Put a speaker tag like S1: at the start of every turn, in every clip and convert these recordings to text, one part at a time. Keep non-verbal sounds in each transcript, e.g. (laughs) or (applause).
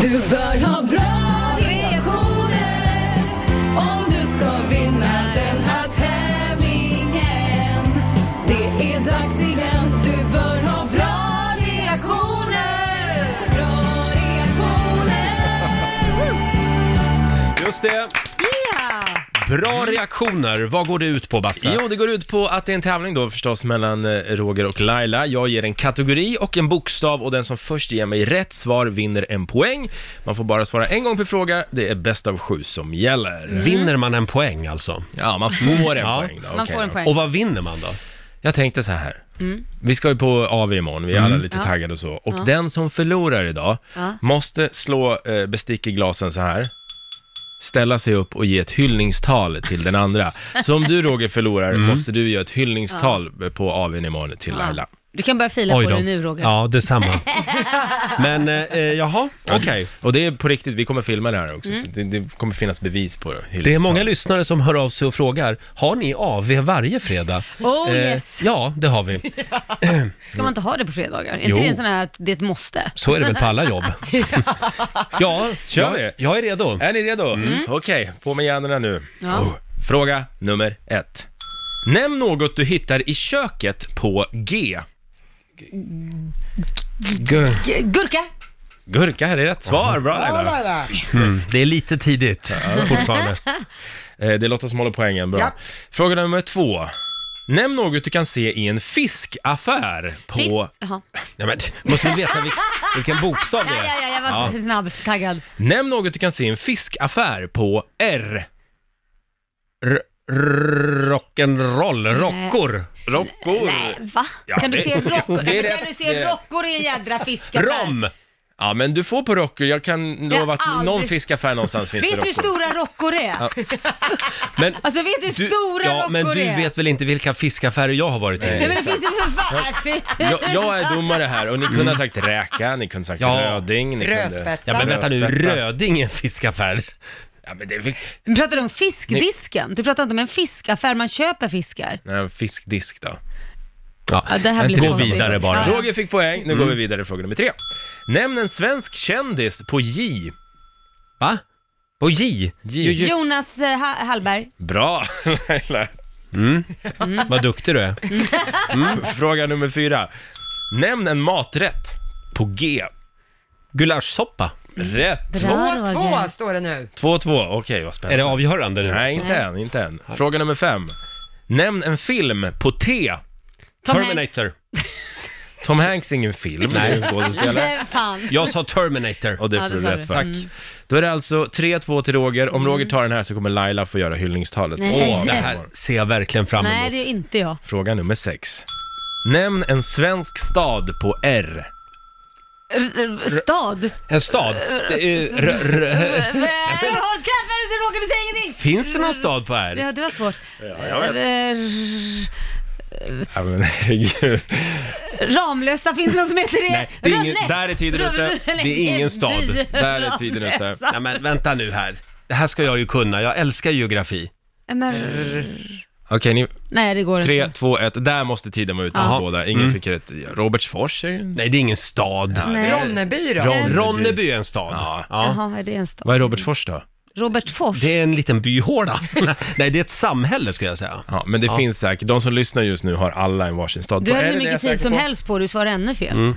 S1: Du bör ha bra reaktioner om du ska vinna den här tävlingen. Det är dags igen. Du bör ha bra reaktioner. Bra
S2: (laughs)
S1: reaktioner.
S2: Just det.
S1: Yeah.
S3: Mm.
S2: Bra reaktioner. Vad går det ut på, Basse?
S4: Jo, det går ut på att det är en tävling då förstås mellan eh, Roger och Laila. Jag ger en kategori och en bokstav och den som först ger mig rätt svar vinner en poäng. Man får bara svara en gång per fråga. Det är bäst av sju som gäller.
S3: Mm.
S2: Vinner man en poäng alltså?
S4: Ja, man får en
S2: Ja.
S4: poäng då.
S3: Man
S4: Okej
S3: får en
S4: då.
S3: poäng.
S2: Och vad vinner man då?
S4: Jag tänkte så här. Vi ska ju på AV imorgon, vi är
S2: Mm.
S4: alla lite taggade och så. Och den som förlorar idag
S3: Ja.
S4: måste slå eh, bestick i glasen så här ställa sig upp och ge ett hyllningstal till
S2: (laughs)
S4: den andra. Så om du Roger förlorar
S2: Mm.
S4: måste du göra ett hyllningstal på AWn imorgon till Laila.
S3: Du kan börja fila på det nu Roger.
S2: Ja,
S3: (laughs)
S2: detsamma. Men, eh, eh, jaha, okej. Mm.
S4: Och det är på riktigt, vi kommer filma det här också. Så det, det kommer finnas bevis på hyllningstal.
S2: Det är många lyssnare som hör av sig och frågar, har ni AV varje fredag?
S3: Oh
S2: Eh,
S3: yes!
S2: Ja, det har vi.
S3: Ska man inte ha det på fredagar? Är
S2: Jo.
S3: inte det en sån här att det är ett måste?
S2: Så är det väl på alla
S3: (laughs)
S2: jobb. Ja,
S4: Kör
S2: jag,
S4: vi?
S2: jag är redo.
S4: Är ni redo?
S2: Mm.
S4: Okej, på med hjärnorna nu.
S3: Ja.
S4: Oh. Fråga nummer ett. Nämn något du hittar i köket på G.
S3: G- Gurka!
S4: Gurka här är rätt svar, bra Laila.
S5: Laila.
S2: Mm. Det är lite tidigt
S3: (laughs)
S2: fortfarande.
S4: Eh, Det är Lotta som håller poängen, bra.
S5: Ja.
S4: Fråga nummer två. Nämn något du kan se i en fiskaffär
S3: Fisk!
S4: på...
S3: Jaha.
S2: Nej, men, måste vi veta
S3: (laughs)
S2: vilk, vilken bokstav det
S3: Ja, ja,
S2: är?
S3: ja, jag var så snabb, taggad.
S4: Nämn något du kan se i en fiskaffär på R.
S2: R- Rock'n'roll, rockor.
S4: Rockor.
S3: Nej, va?
S4: Ja,
S3: kan du
S4: det-
S3: se rockor?
S4: det är
S3: kan
S4: rätt,
S3: du se
S4: det är-
S3: rockor i en jädra fiskaffär?
S2: Rom!
S4: Ja, men du får på rockor. Jag kan
S3: Jag
S4: lova att
S3: har
S4: någon
S3: aldrig-
S4: fiskaffär någonstans finns det
S3: Vet du hur
S4: rockor.
S3: stora rockor är?
S2: Men,
S3: Alltså vet du hur stora
S2: ja,
S3: rockor
S2: men du
S3: är?
S2: vet väl inte vilka fiskaffärer jag har varit
S3: Nej
S2: i?
S3: men det finns ju för fan... Fett.
S4: Jag, jag är domare här och ni kunde ha sagt räka, ni kunde ha sagt
S2: Ja.
S4: röding, ni
S5: Rödspätta.
S2: Ja men vänta nu,
S4: Rödspätta.
S2: Röding är en fiskaffär.
S4: kunde... Ja, men det är väl...
S3: Men Pratar du om fiskdisken? Du pratar inte om en fiskaffär, man köper fiskar.
S4: Nej, fiskdisk då.
S3: Ja, det här blir
S2: Gå
S3: konstigt.
S2: vidare bara.
S3: Ja. Mm.
S4: Roger fick poäng, nu går vi vidare till fråga nummer tre. Nämn en svensk kändis på J.
S2: Va? Och J?
S4: J.
S2: Ju- ju-
S3: Jonas eh, ha- Hallberg.
S4: Bra, (laughs) Laila.
S2: Vad duktig du är.
S4: Fråga nummer fyra. Nämn en maträtt på G.
S2: Gulaschsoppa,
S4: Rätt.
S3: Bra, Roger.
S5: 2-2 står det nu.
S4: 2-2, okej vad
S2: är det
S4: spännande.
S2: avgörande nu?
S4: Nej,
S2: också?
S4: inte än, inte än. Fråga nummer fem. Nämn en film på T.
S3: Tom Hanks.
S2: Terminator.
S4: Tom Hanks är ingen film, det är en skådespelare.
S3: Nej, fan.
S2: Jag sa Terminator.
S4: Och det
S3: Ja,
S4: får
S3: det
S4: du
S3: sa
S4: rätt
S3: du. Mm.
S4: för. Då är det alltså 3-2 till Roger. Om Roger tar den här så kommer Laila få göra hyllningstalet.
S3: Nej.
S4: Åh,
S2: Det här ser jag verkligen fram emot.
S3: Nej, det är inte jag.
S4: Fråga nummer sex. Nämn en svensk stad på R.
S3: R- r- Stad?
S2: En stad? Det
S3: Alltså,
S2: är, r- r-
S3: Eh, Håll käften, det Roger, du säger ingenting!
S2: finns det någon stad på här?
S3: Ja, det var svårt. Eh,
S4: Ja, men (laughs) herregud.
S3: Ramlösa, finns det någon som heter det?
S2: Nej, det är ingen-
S3: Rönne.
S4: där är tiden ute.
S3: Rönne.
S2: Det är ingen stad.
S3: Rönne.
S4: Där är tiden ute.
S3: Ramlösa.
S2: Nej men vänta nu här. Det här ska jag ju kunna, jag älskar geografi.
S3: Nej, Men, r-
S4: Okej, ni
S3: nej, det går
S4: Tre,
S3: inte.
S4: två, ett. Där måste tiden vara ute
S3: Ja.
S4: för båda. Ingen fick rätt. Robertsfors är ju...
S2: Nej det är ingen stad.
S3: Nej.
S5: Ronneby då?
S4: Ron-
S2: Ronneby är en stad.
S4: Ja.
S3: Jaha, är det en stad?
S4: Vad är Robertsfors då?
S3: Robertsfors?
S2: Det är en liten
S4: (laughs)
S2: byhåla. Nej det är ett samhälle skulle jag säga.
S4: Ja, men det finns säkert. De som lyssnar just nu har alla en varsin stad.
S3: Du
S4: Är
S3: hade
S4: det
S3: hur
S4: det jag är
S3: mycket tid
S4: säker
S3: som
S4: på?
S3: helst på dig att svara ännu fel.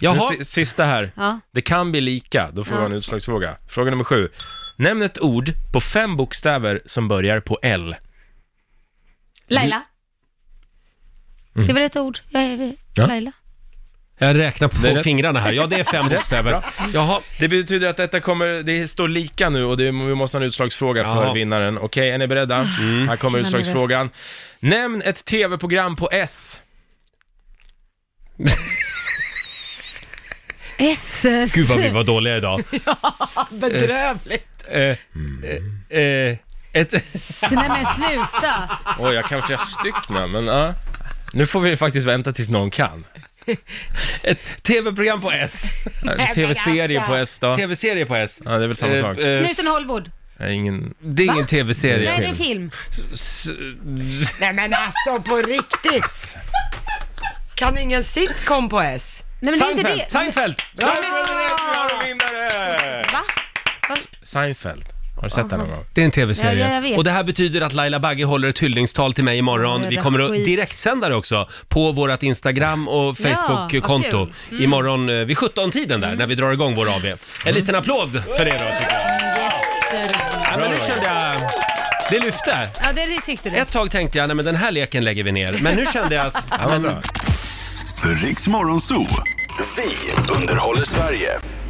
S2: Jaha,
S4: Nu, si- sista här.
S3: Ja.
S4: Det kan bli lika. Då får vi ha en utslagsfråga. Fråga nummer sju. Nämn ett ord på fem bokstäver som börjar på L.
S3: Laila?
S2: Mm.
S3: Det är väl ett ord? Jag är
S4: Ja.
S3: Laila.
S2: jag räknar
S4: Det är
S2: på
S4: (laughs) rätt.
S2: fingrarna här. Ja det är fem bokstäver. Jaha,
S4: Det betyder att detta kommer, det står lika nu och det, vi måste ha en utslagsfråga för
S2: Jaha. Ah. Mm.
S4: vinnaren. Okej, är ni beredda? Här kommer
S3: Jag är nervös.
S4: utslagsfrågan. Nämn ett tv-program på S.
S3: SS.
S2: gud vad vi var dåliga idag.
S5: Bedrövligt.
S2: Eh, eh, eh, ett... (laughs)
S3: Nej men sluta.
S4: (laughs) Oj, jag kan flera stycken, men ja. Nu får vi faktiskt vänta tills någon kan.
S2: Ett tv-program på S.
S4: En TV-serie på S då?
S2: Tv-serie på S.
S4: Ja, det är väl samma
S2: Eh,
S4: sak.
S2: eh,
S3: Snuten Hollywood.
S4: Nej, Ingen...
S2: det är ingen
S3: Nej,
S2: tv-serie.
S3: det är en film.
S5: Nej men alltså på riktigt. Kan ingen sitcom på S?
S3: Nej, men det är inte
S2: Seinfeld!
S3: det.
S2: Seinfeld!
S4: Seinfeld är rätt, vi har en vinnare! Seinfeld. Har du sett den någon gång?
S2: Det är en tv-serie.
S3: Ja, jag vet.
S2: och det här betyder att Laila Bagge håller ett hyllningstal till mig imorgon.
S3: Åh,
S2: Vi
S3: vad
S2: kommer att
S3: skit.
S2: direktsända det också på vårt Instagram och
S3: Ja,
S2: Facebook-konto.
S3: vad kul. Mm.
S2: Imorgon eh, vid 17-tiden där, när vi drar igång vår AV. En liten applåd för det då, tycker jag.
S3: Mm,
S2: Ja, men nu kände jag... Det lyfte.
S3: Ja, det, det tyckte du.
S2: Ett tag tänkte jag, nej men den här leken lägger vi ner. Men nu kände jag att... Ja, men,
S4: bra.
S6: Riks Morgonzoo. Vi underhåller Sverige.